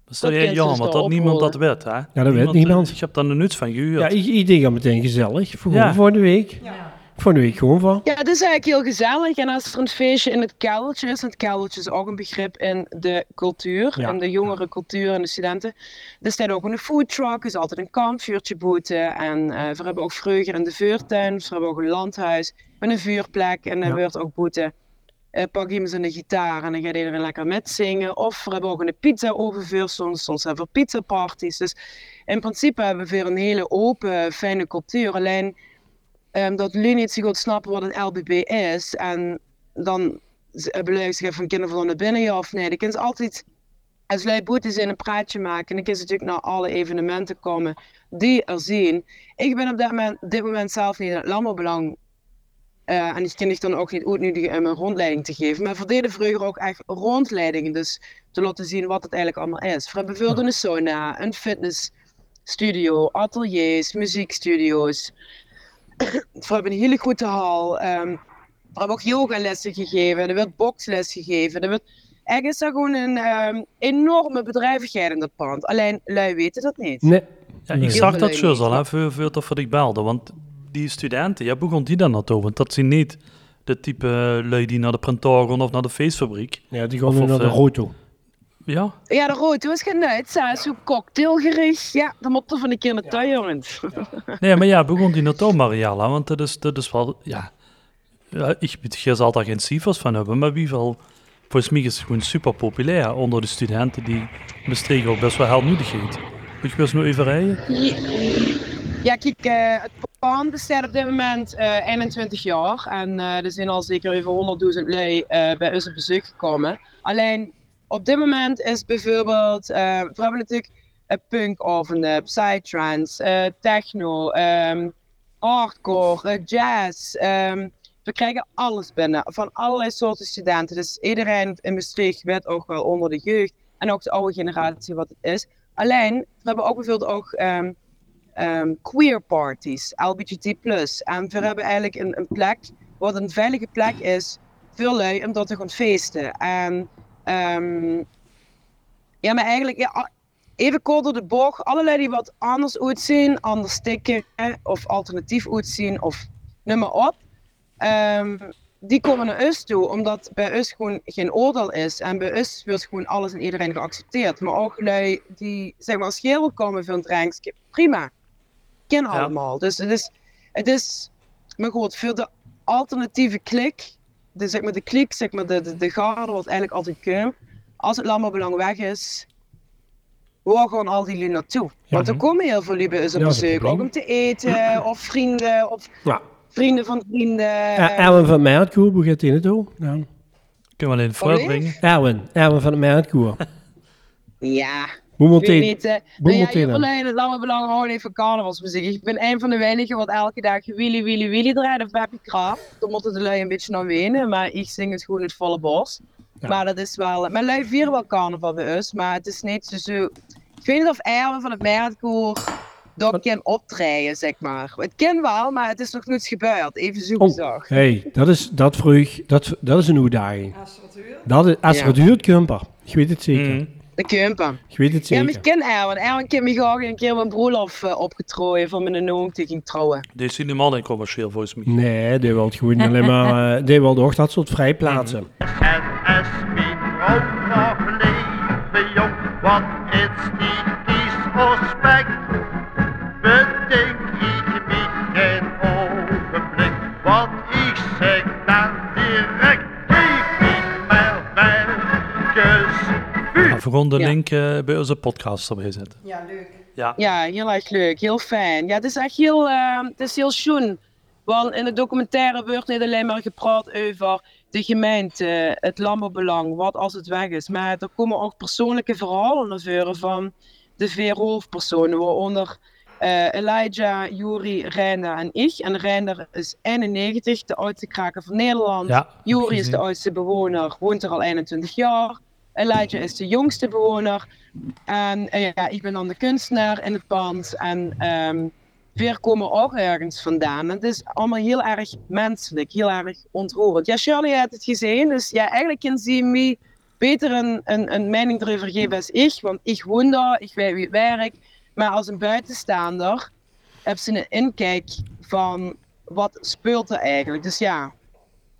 Speaker 1: dat is wel
Speaker 7: Dat
Speaker 1: heel
Speaker 7: kind
Speaker 1: jammer
Speaker 7: is
Speaker 1: dat,
Speaker 7: wel
Speaker 1: niemand dat weet,
Speaker 7: opgerold.
Speaker 1: hè? Ja,
Speaker 2: dat weet niemand.
Speaker 1: Ik heb daar een nut van gehuurd.
Speaker 2: ja, i- idee gaat meteen gezellig. Voor,
Speaker 1: Ja.
Speaker 2: voor de week. Voor de week gewoon van.
Speaker 7: Ja, het is eigenlijk heel gezellig. En als er een feestje in het keldertje is, en het keldertje is ook een begrip in de cultuur,
Speaker 2: Ja.
Speaker 7: in de jongere cultuur en de studenten, er staat ook een foodtruck, is altijd een kampvuurtje boeten. En eh, we hebben ook vreugde in de vuurtuin, we hebben ook een landhuis met een vuurplek en er
Speaker 2: Ja.
Speaker 7: wordt ook boeten. Eh, pak iemand zijn gitaar en dan gaat iedereen lekker meezingen. Of we hebben ook een pizza ovenvuur, soms, soms hebben we pizzaparties. Dus in principe hebben we weer een hele open, fijne cultuur. Alleen ehm, dat jullie niet zo goed snappen wat een LBB is. En dan z- eh, beluisteren ze van kinderen van naar binnen ja of nee. Dan kunnen ze altijd, als jullie boetes in een praatje maken, en dan kunnen ze natuurlijk naar alle evenementen komen die er zien. Ik ben op dat moment, dit moment zelf niet in het landbouwbelang. eh, en ik ken ik dan ook niet uit nu die, om een rondleiding te geven. Maar we deden vroeger ook echt rondleidingen. Dus te laten zien wat het eigenlijk allemaal is. We hebben veel een sauna, een fitnessstudio, ateliers, muziekstudio's. We hebben een hele goede hal. ehm, we hebben ook yogalessen gegeven. Er werd boksles gegeven. Er werd... Eigenlijk is er gewoon een ehm, enorme bedrijvigheid in dat pand. Alleen lui weten dat niet.
Speaker 2: Nee.
Speaker 1: Ja, ik
Speaker 2: Nee.
Speaker 1: zag dat
Speaker 7: Heel
Speaker 1: zo al, hè,
Speaker 7: belangrijk.
Speaker 1: veel, veel dat voor ik belde. Want die studenten, ja, begon die dan naartoe? Want dat zijn niet de type eh, lui die naar de printoren of naar de feestfabriek.
Speaker 2: Ja, die
Speaker 1: Of-
Speaker 2: gaan nu
Speaker 1: of,
Speaker 2: naar de
Speaker 1: eh,
Speaker 2: roto.
Speaker 1: Ja,
Speaker 7: Ja, de rood was genuid. Ze is zo cocktailgerig. Ja, dan moet er van een keer naartoe, jongens.
Speaker 1: nee, maar ja, begon die nou naartoe, Mariella? Want dat is, dat is wel, ja... ja ik je zal daar geen cijfers van hebben, maar wie wel... Volgens mij is het gewoon super populair onder de studenten die Maastricht ook best wel helmoedig heet. Moet je eens nu even rijden?
Speaker 7: Ja, kijk, eh, het pand bestaat op dit moment eh, 21 jaar. En eh, er zijn al zeker over 100.000 lui eh, bij ons op bezoek gekomen. Alleen, op dit moment is bijvoorbeeld... eh, we hebben natuurlijk eh, punkavonden, psytrance, eh, techno, ehm, hardcore, eh, jazz. ehm, we krijgen alles binnen, van allerlei soorten studenten. Dus iedereen in Maastricht weet ook wel onder de jeugd. En ook de oude generatie wat het is. Alleen, we hebben ook bijvoorbeeld ook... ehm, ehm, queer parties, LGBT+. En we hebben eigenlijk een, een plek, wat een veilige plek is voor lui om daar te gaan feesten. En ehm, ja, maar eigenlijk ja, a- even kort door de bocht, allerlei die wat anders uitzien, anders tikken of alternatief uitzien of noem maar op. ehm, die komen naar us toe, omdat bij us gewoon geen oordeel is. En bij us wordt gewoon alles en iedereen geaccepteerd. Maar ook lui die zeg maar als geel komen van drinks, prima. Ken allemaal. Dus het is, het is, maar goed, voor de alternatieve klik, de, zeg maar de klik, zeg maar de, de, de garde wat eigenlijk altijd kun. Als het landbouwbelang weg is, waar gaan al die lui naartoe? Want er komen heel veel lui bij ons op
Speaker 2: Ja, dat is
Speaker 7: bezoek,
Speaker 2: het
Speaker 7: ook
Speaker 2: probleem.
Speaker 7: om te eten, of vrienden, of
Speaker 2: Ja.
Speaker 7: vrienden van vrienden.
Speaker 2: Eh, Erwin van Mertkoer, hoe gaat die in het hoor? Nou.
Speaker 1: Kunnen we alleen het
Speaker 7: Allee?
Speaker 1: brengen?
Speaker 2: Erwin, Erwin van Mertkoer.
Speaker 7: ja,
Speaker 2: Hoe moet
Speaker 7: ik weet
Speaker 2: die?
Speaker 7: niet. eh, nou ja,
Speaker 2: Boemelt die
Speaker 7: hier
Speaker 2: dan?
Speaker 7: alleen het lange belang gewoon even carnavalsmuziek. Ik ben een van de weinigen wat elke dag Willy Willy Willy draait of Papi Krap. Dan moeten de lui een beetje aan wenen, maar ik zing het gewoon het volle bos.
Speaker 2: Ja.
Speaker 7: Maar dat is wel... Mijn lui vieren wel carnaval bij ons, maar het is niet zo... zo ik weet niet of Erwin van het Mertkoer dat kan optreden, zeg maar. Het kan wel, maar het is nog niets gebeurd. Even zoeken
Speaker 2: Oh.
Speaker 7: zag.
Speaker 2: hey, dat is, dat vroeg, dat, dat is een uitdaging. Dat is, als
Speaker 7: Ja.
Speaker 2: het duurt, Kumper. Ik weet het zeker.
Speaker 1: Mm.
Speaker 7: De kumpen.
Speaker 2: Ik weet het
Speaker 7: Ja, maar
Speaker 2: zeker.
Speaker 7: ik ken Erwin. Erwin kan me graag een keer mijn broerlof eh, opgetrooien van mijn oom die ging trouwen.
Speaker 1: Dit is in de mannen commercieel volgens mij.
Speaker 2: Nee, die wil gewoon alleen maar... eh die wil ook dat soort vrijplaatsen.
Speaker 5: NS microfoon leven jong, wat is die disrespect? Bedenk ik niet geen ogenblik, want ik zeg dan direct, geef ik mij welke
Speaker 1: Maar gewoon de
Speaker 7: Ja.
Speaker 1: link eh, bij onze podcast erbij zetten.
Speaker 7: Ja, heel erg leuk. Heel fijn. Ja, het is echt heel, eh, het is heel schoon. Want in de documentaire wordt niet alleen maar gepraat over de gemeente, het landbouwbelang, wat als het weg is. Maar er komen ook persoonlijke verhalen naar voren van de vier hoofdpersonen, waaronder eh, Elijah, Juri, Reinder en ik. En Reinder is 91, de oudste kraker van Nederland.
Speaker 1: Ja, heb ik
Speaker 7: Juri is
Speaker 1: gezien.
Speaker 7: de oudste bewoner, woont er al 21 jaar. Elijah is de jongste bewoner. En eh, ja, ik ben dan de kunstenaar in het pand. En ehm weer komen ook ergens vandaan. Het is allemaal heel erg menselijk, heel erg ontroerend. Ja, Shirley had het gezien. Dus ja, eigenlijk kan ze me beter een, een, een mening erover geven als ik. Want ik woon daar, ik weet wie het werk. Maar als een buitenstaander heb ze een inkijk van wat speelt er eigenlijk. Dus ja,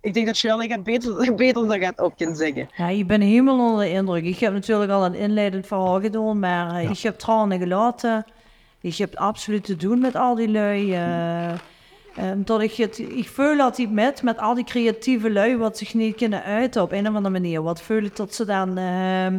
Speaker 7: ik denk dat Shirley het beter, beter daar gaat op kunnen zeggen.
Speaker 3: Ja, ik ben helemaal onder de indruk. Ik heb natuurlijk al een inleidend verhaal gedaan, maar eh, ik heb tranen gelaten. Ik heb absoluut te doen met al die lui. eh omdat ik het, ik voel dat ik met, met al die creatieve lui wat zich niet kunnen uiten op een of andere manier. Wat voel ik dat ze dan ehm,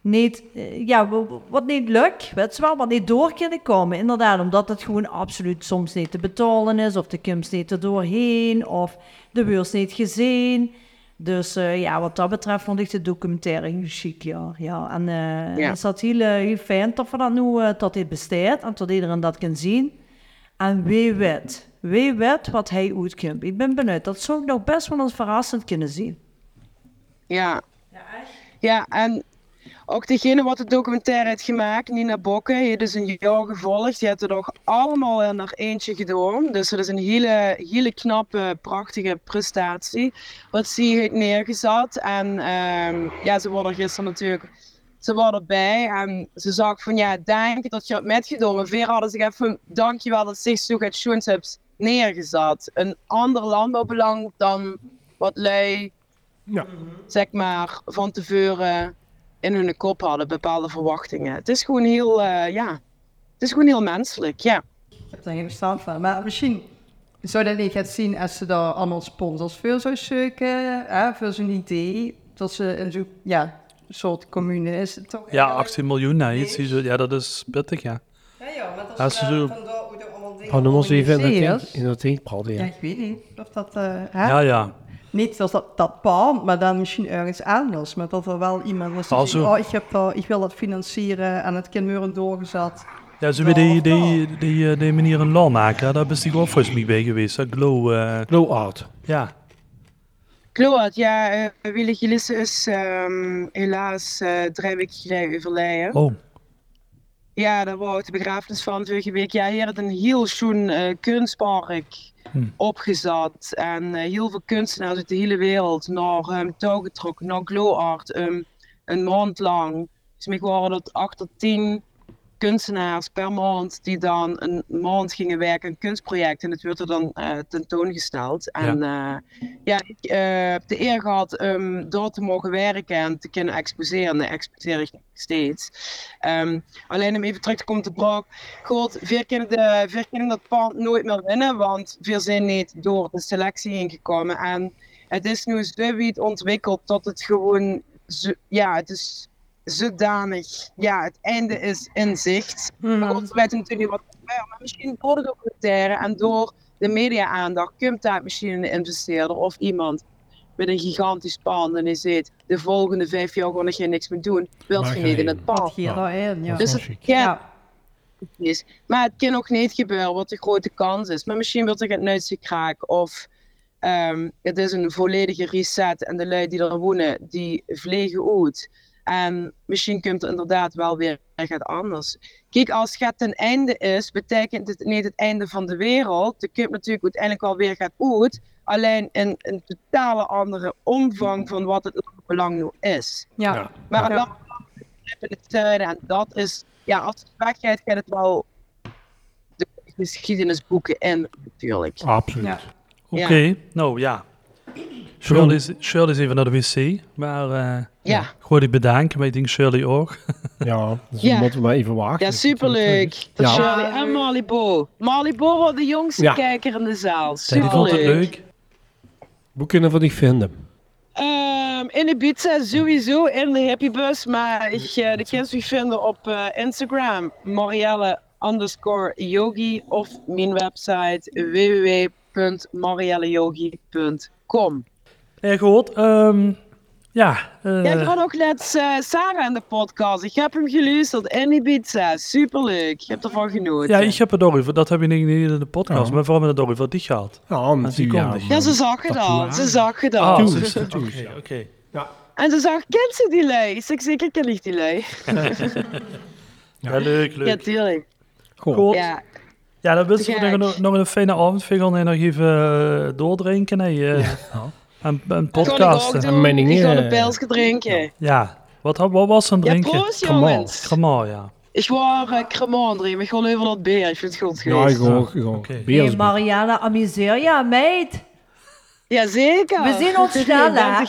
Speaker 3: niet, eh, ja, w- w- wat niet lukt, weet je wel, wat niet door kunnen komen. Inderdaad, omdat het gewoon absoluut soms niet te betalen is, of de komst niet er doorheen, of de beurs niet gezien. Dus eh, ja, wat dat betreft vond ik de documentaire heel chic, ja. ja en eh
Speaker 7: Ja.
Speaker 3: het is dat heel, eh, heel fijn dat we dat nu, eh, dat dit bestaat en dat iedereen dat kan zien. En wie weet, wie weet wat hij uitkomt. Ik ben benieuwd, dat zou ik nog best wel eens verrassend kunnen zien.
Speaker 7: Ja. Ja, en ook degene wat de documentaire heeft gemaakt, Nina Bokke, heeft dus een jaar gevolgd. Die heeft er nog allemaal in haar eentje gedaan. Dus dat is een hele, hele knappe, prachtige prestatie. Wat ze heeft neergezet. En ehm, ja, ze worden gisteren natuurlijk... Ze waren erbij en ze zag van ja, denk dat je het metgedaan. En Veer hadden zich even dankjewel dat zich zo gaat Schoens hebt neergezet. Een ander landbouwbelang dan wat lui zeg maar, van tevoren in hun kop hadden, bepaalde verwachtingen. Het is gewoon heel, eh, ja, het is gewoon heel menselijk, ja.
Speaker 10: Ik heb daar geen verstand van. Maar misschien zou dat niet gaan zien als ze daar allemaal sponsors voor zou zoeken, hè, voor zo'n idee. Dat ze een zo, ja, soort commune is. het Toch
Speaker 1: Ja,
Speaker 10: eigenlijk?
Speaker 1: 18 miljoen, nou, nee, iets, iets- ja, dat is pittig, ja.
Speaker 10: Ja, ja, maar
Speaker 1: Ja,
Speaker 10: dat
Speaker 1: ze
Speaker 10: ze
Speaker 1: zo-
Speaker 10: daar vandaar hoe er allemaal dingen
Speaker 2: Van nummer 7 in
Speaker 10: georganiseerd.
Speaker 2: het- in het eind praten,
Speaker 10: Ja,
Speaker 2: ja.
Speaker 10: ik weet niet of dat... eh, hè?
Speaker 1: Ja, ja.
Speaker 10: Niet zoals dat, dat pand, maar dan misschien ergens anders. Maar dat er wel iemand was die
Speaker 1: Ah,
Speaker 10: zegt,
Speaker 1: zo.
Speaker 10: oh, ik, heb daar, ik wil dat financieren en het kan Meuren doorgezet.
Speaker 1: Ja, ze weer die, die, die, eh, die manier een law maken, hè, daar ben ik ook volgens mij bij geweest. Dat glow, eh,
Speaker 2: Glow Art.
Speaker 1: ja.
Speaker 7: Klopt, ja, eh Willy Gillissen is ehm, helaas eh, drie weken geleden overleden.
Speaker 1: Oh,
Speaker 7: Ja, daar wou ik de begrafenis van vorige week. Ja, hier had een heel schoon eh, kunstpark
Speaker 1: Hm.
Speaker 7: opgezet. En eh, heel veel kunstenaars uit de hele wereld naar hem touw getrokken, naar Glow Art. ehm, een maand lang. Dus mij waren dat acht tot tien kunstenaars per maand die dan een maand gingen werken aan een kunstproject. En het werd er dan eh, tentoongesteld. En eh, ja, ik eh, heb de eer gehad om door te mogen werken en te kunnen exposeren. En dat exposeer ik nog steeds. Ehm, alleen om even terug te komen te Braak. God, veer kunnen, de, veer kunnen dat pand nooit meer winnen, want veer zijn niet door de selectie heen gekomen. En het is nu zo wiet ontwikkeld dat het gewoon, zo- ja, het is zodanig. Ja, het einde is in zicht. Maar God, we weten natuurlijk niet wat er gebeurt. Maar misschien door de documentaire en door de media-aandacht komt daar misschien een investeerder of iemand met een gigantisch pand en die zegt, de volgende vijf jaar ga ik hier niks meer doen, wil
Speaker 10: Maar
Speaker 7: je niet
Speaker 10: geen-
Speaker 7: in het pand.
Speaker 10: Hier daarin, Oh, ja.
Speaker 7: Dus het ja. Is. Maar het kan ook niet gebeuren, wat de grote kans is. Maar misschien wordt er het neusje kraak of ehm, het is een volledige reset en de lui die er wonen, die vliegen uit. En misschien komt er inderdaad wel weer het anders. Kijk, als het ten einde is, betekent het niet het einde van de wereld. De komt natuurlijk uiteindelijk wel weer gaat uit. Alleen in een totale andere omvang van wat het belang nu is.
Speaker 10: Ja. Ja.
Speaker 7: Maar aan de andere kant hebben we het zuiden en dat is, ja, als het weggaat, gaat het wel de geschiedenisboeken in, natuurlijk.
Speaker 2: Absoluut.
Speaker 7: Ja.
Speaker 1: Oké,
Speaker 7: Ja.
Speaker 1: nou ja. Shirley is, Shirley is even naar de wc, maar eh
Speaker 7: Ja.
Speaker 1: gooi die bedanken, maar ik denk Shirley ook.
Speaker 2: ja,
Speaker 1: dus
Speaker 7: we Ja. moeten
Speaker 2: maar even wachten.
Speaker 7: Ja, superleuk. Dat
Speaker 1: Ja.
Speaker 7: Shirley en Malibo. Malibo wordt de jongste
Speaker 2: Ja.
Speaker 7: kijker in de zaal.
Speaker 2: Zij die
Speaker 7: Superleuk.
Speaker 2: vond het leuk. Hoe kunnen we die vinden?
Speaker 7: Ehm, in de pizza sowieso, in de happybus. Maar ik, eh de kids die vinden op eh, Instagram. Marielle underscore yogi. Of mijn website www.marielleyogi.com.
Speaker 1: Nee, goed. ehm, ja, eh,
Speaker 7: Ja, ik had ook net eh, Sarah in de podcast. Ik heb hem geluisterd in Ibiza. Superleuk. Ik heb ervan genoten.
Speaker 1: ja, ik heb het over. Dat heb je niet niet in de podcast, maar vooral met het over wat die gaat.
Speaker 2: Ja,
Speaker 1: maar die
Speaker 2: ja,
Speaker 1: komt niet.
Speaker 7: Ja, ze zag het al. Ze zag het al.
Speaker 1: Ah,
Speaker 7: Ze-
Speaker 1: ze is- Oké, oké.
Speaker 7: En ze zag, kent ze die lui? Ik zeg, zeker ken ik die lui.
Speaker 1: Ja, leuk,
Speaker 7: Ja,
Speaker 1: leuk.
Speaker 7: tuurlijk.
Speaker 1: Goed.
Speaker 7: Ja.
Speaker 1: Ja, dan wist ik
Speaker 7: Gek.
Speaker 1: nog, nog een fijne avond. We gaan nog even eh, doordrinken. hè, eh, En, en podcasten.
Speaker 7: Kan ik ook doen. Ik ga een pilsje drinken.
Speaker 1: Ja, wat, wat was een
Speaker 7: Ja,
Speaker 1: drinken?
Speaker 7: proost,
Speaker 1: Cremant.
Speaker 7: jongens.
Speaker 1: Cremant, ja.
Speaker 7: Ik wou uh, cremant drinken. Ik ga even dat beer. Ik vind het goed geweest.
Speaker 3: Hey, Marianne, amuseer je, meid.
Speaker 7: Ja, zeker.
Speaker 3: We zien ons snel, hè?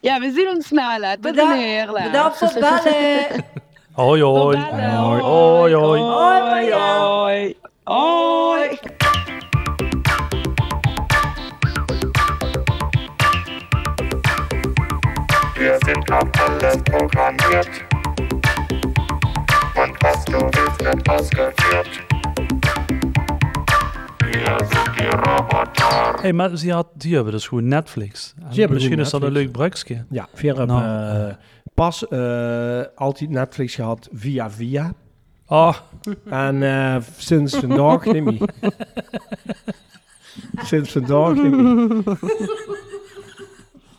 Speaker 7: Ja, we zien ons snel. hè. Tot
Speaker 3: Bedankt-
Speaker 7: een heerlijk.
Speaker 3: bedankt voor het bellen.
Speaker 1: Hoi, hoi. Hoi, hoi. hoi.
Speaker 7: Hoi, hoi. Hoi.
Speaker 11: Wir sind auf alles programmiert. Und was du willst, wird ausgeführt. Wir sind die Roboter.
Speaker 1: Hey, maar die, had, die hebben dus gewoon Netflix. En
Speaker 2: Ze hebben
Speaker 1: misschien
Speaker 2: goed
Speaker 1: is dat een
Speaker 2: Netflix.
Speaker 1: leuk bruikje.
Speaker 2: Ja, Vera heb,
Speaker 1: Nou.
Speaker 2: eh, pas eh, altijd Netflix gehad via via.
Speaker 1: Oh.
Speaker 2: En eh, sinds vandaag neem ik. sinds vandaag neem ik.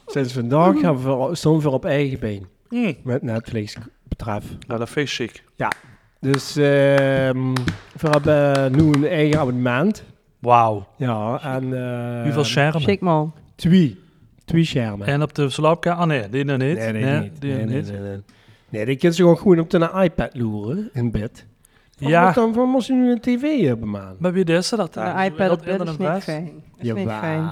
Speaker 2: sinds vandaag hebben we, al- staan we op eigen been.
Speaker 1: Mm.
Speaker 2: Met Netflix betreft.
Speaker 1: Nou, dat vind ik chic.
Speaker 2: Ja. Dus ehm, we hebben nu een eigen abonnement.
Speaker 1: Wauw.
Speaker 2: Ja, en... eh,
Speaker 1: Hoeveel schermen? Chic,
Speaker 10: man.
Speaker 2: Twee. Twee schermen.
Speaker 1: En op de slaapkamer? Ah nee, die nog niet.
Speaker 2: Nee, nee, niet.
Speaker 1: die
Speaker 2: nee,
Speaker 1: nog
Speaker 2: nee,
Speaker 1: niet.
Speaker 2: nee, nee. Nee, die kunnen ze gewoon goed op de iPad loeren in bed. Wat
Speaker 1: Ja.
Speaker 2: moet dan van moest je nu een tv hebben, man?
Speaker 1: Maar wie is dat dan?
Speaker 2: De iPad
Speaker 1: Dat
Speaker 2: op bed
Speaker 1: in
Speaker 2: is
Speaker 1: een
Speaker 2: niet
Speaker 1: vest?
Speaker 2: fijn. Is niet Jawel. fijn.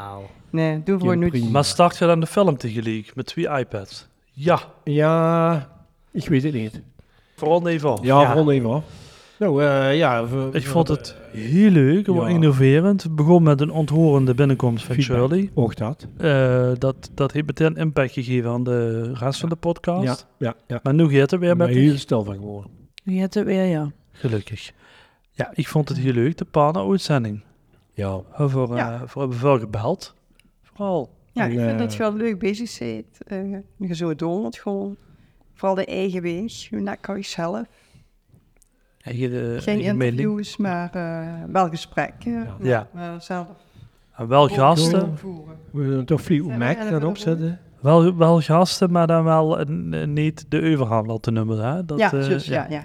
Speaker 10: Nee, doe gewoon niet.
Speaker 1: Maar start je dan de film tegelijk met twee iPads? Ja.
Speaker 2: Ja, ik weet het niet.
Speaker 1: Vooral even af.
Speaker 2: Ja, rond even af. Nou, eh, ja. we-
Speaker 1: Ik
Speaker 2: we-
Speaker 1: vond het heel leuk, wel
Speaker 2: Ja.
Speaker 1: innoverend. Het begon met een onthorende binnenkomst van
Speaker 2: Feedback.
Speaker 1: Shirley.
Speaker 2: Ook dat.
Speaker 1: Eh, dat. Dat heeft meteen impact gegeven aan de rest van de
Speaker 2: Ja,
Speaker 1: podcast.
Speaker 2: ja, ja.
Speaker 1: Maar nu gaat het weer
Speaker 2: Maar
Speaker 1: met
Speaker 2: heel stil van geworden.
Speaker 3: Nu hebt het weer, ja.
Speaker 1: Gelukkig. Ja, ik vond het heel leuk, de Pana-uitzending.
Speaker 2: Ja.
Speaker 1: Voor, eh,
Speaker 10: Ja.
Speaker 1: voor hebben we veel gebeld. Vooral.
Speaker 10: Ja, ik
Speaker 1: eh,
Speaker 10: vind dat je wel leuk bezig bent. Eh, je zo doen het gewoon. Vooral de eigen weg. Je lekker jezelf.
Speaker 1: eigen, eh,
Speaker 10: Geen
Speaker 1: eigen mening.
Speaker 10: interviews, maar eh, wel gesprekken. Ja.
Speaker 1: Ja.
Speaker 10: maar zelf.
Speaker 1: En
Speaker 10: Oh,
Speaker 1: wel gasten.
Speaker 10: Voeren.
Speaker 2: We doen toch Fleetwood Mac
Speaker 10: we
Speaker 2: dan
Speaker 10: hebben
Speaker 2: opzetten.
Speaker 1: Wel, wel gasten, maar dan wel eh, n- niet de overhaal op de nummer. Hè? Dat,
Speaker 3: Ja,
Speaker 1: eh,
Speaker 3: juist, ja, ja.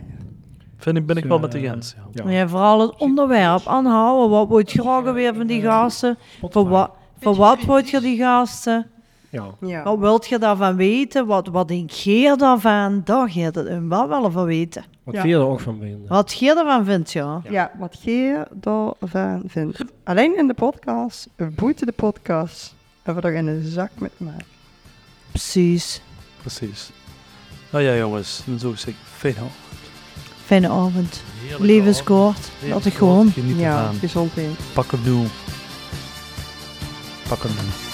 Speaker 1: Vind ik, ben ik wel
Speaker 2: Dus,
Speaker 1: met de
Speaker 2: eh,
Speaker 1: Jens. Ja.
Speaker 3: Ja. vooral het onderwerp aanhouden. Wat wordt je graag weer van die gasten? Voor, wa voor wat wordt je die gasten?
Speaker 2: Ja.
Speaker 3: Wat wilt je daarvan weten? Wat, wat denk je daarvan? Daar gaat het hem wel wel van weten.
Speaker 2: Wat veel er ook van vinden.
Speaker 3: Wat je ervan vindt, ja.
Speaker 10: Ja. wat je daarvan vindt. Alleen in de podcast, buiten de podcast, hebben we er in een zak met maken.
Speaker 3: Precies.
Speaker 1: Precies. Nou ja, jongens, dan zou ik zeggen, fijn hoor.
Speaker 3: Fijne avond.
Speaker 1: Heerlijke
Speaker 3: Leven
Speaker 1: avond.
Speaker 3: scoort.
Speaker 1: Leven
Speaker 3: Dat ik
Speaker 1: scoort,
Speaker 3: gewoon.
Speaker 1: geniet ervan.
Speaker 10: gezondheid.
Speaker 1: Pak hem nu. Pak hem nu.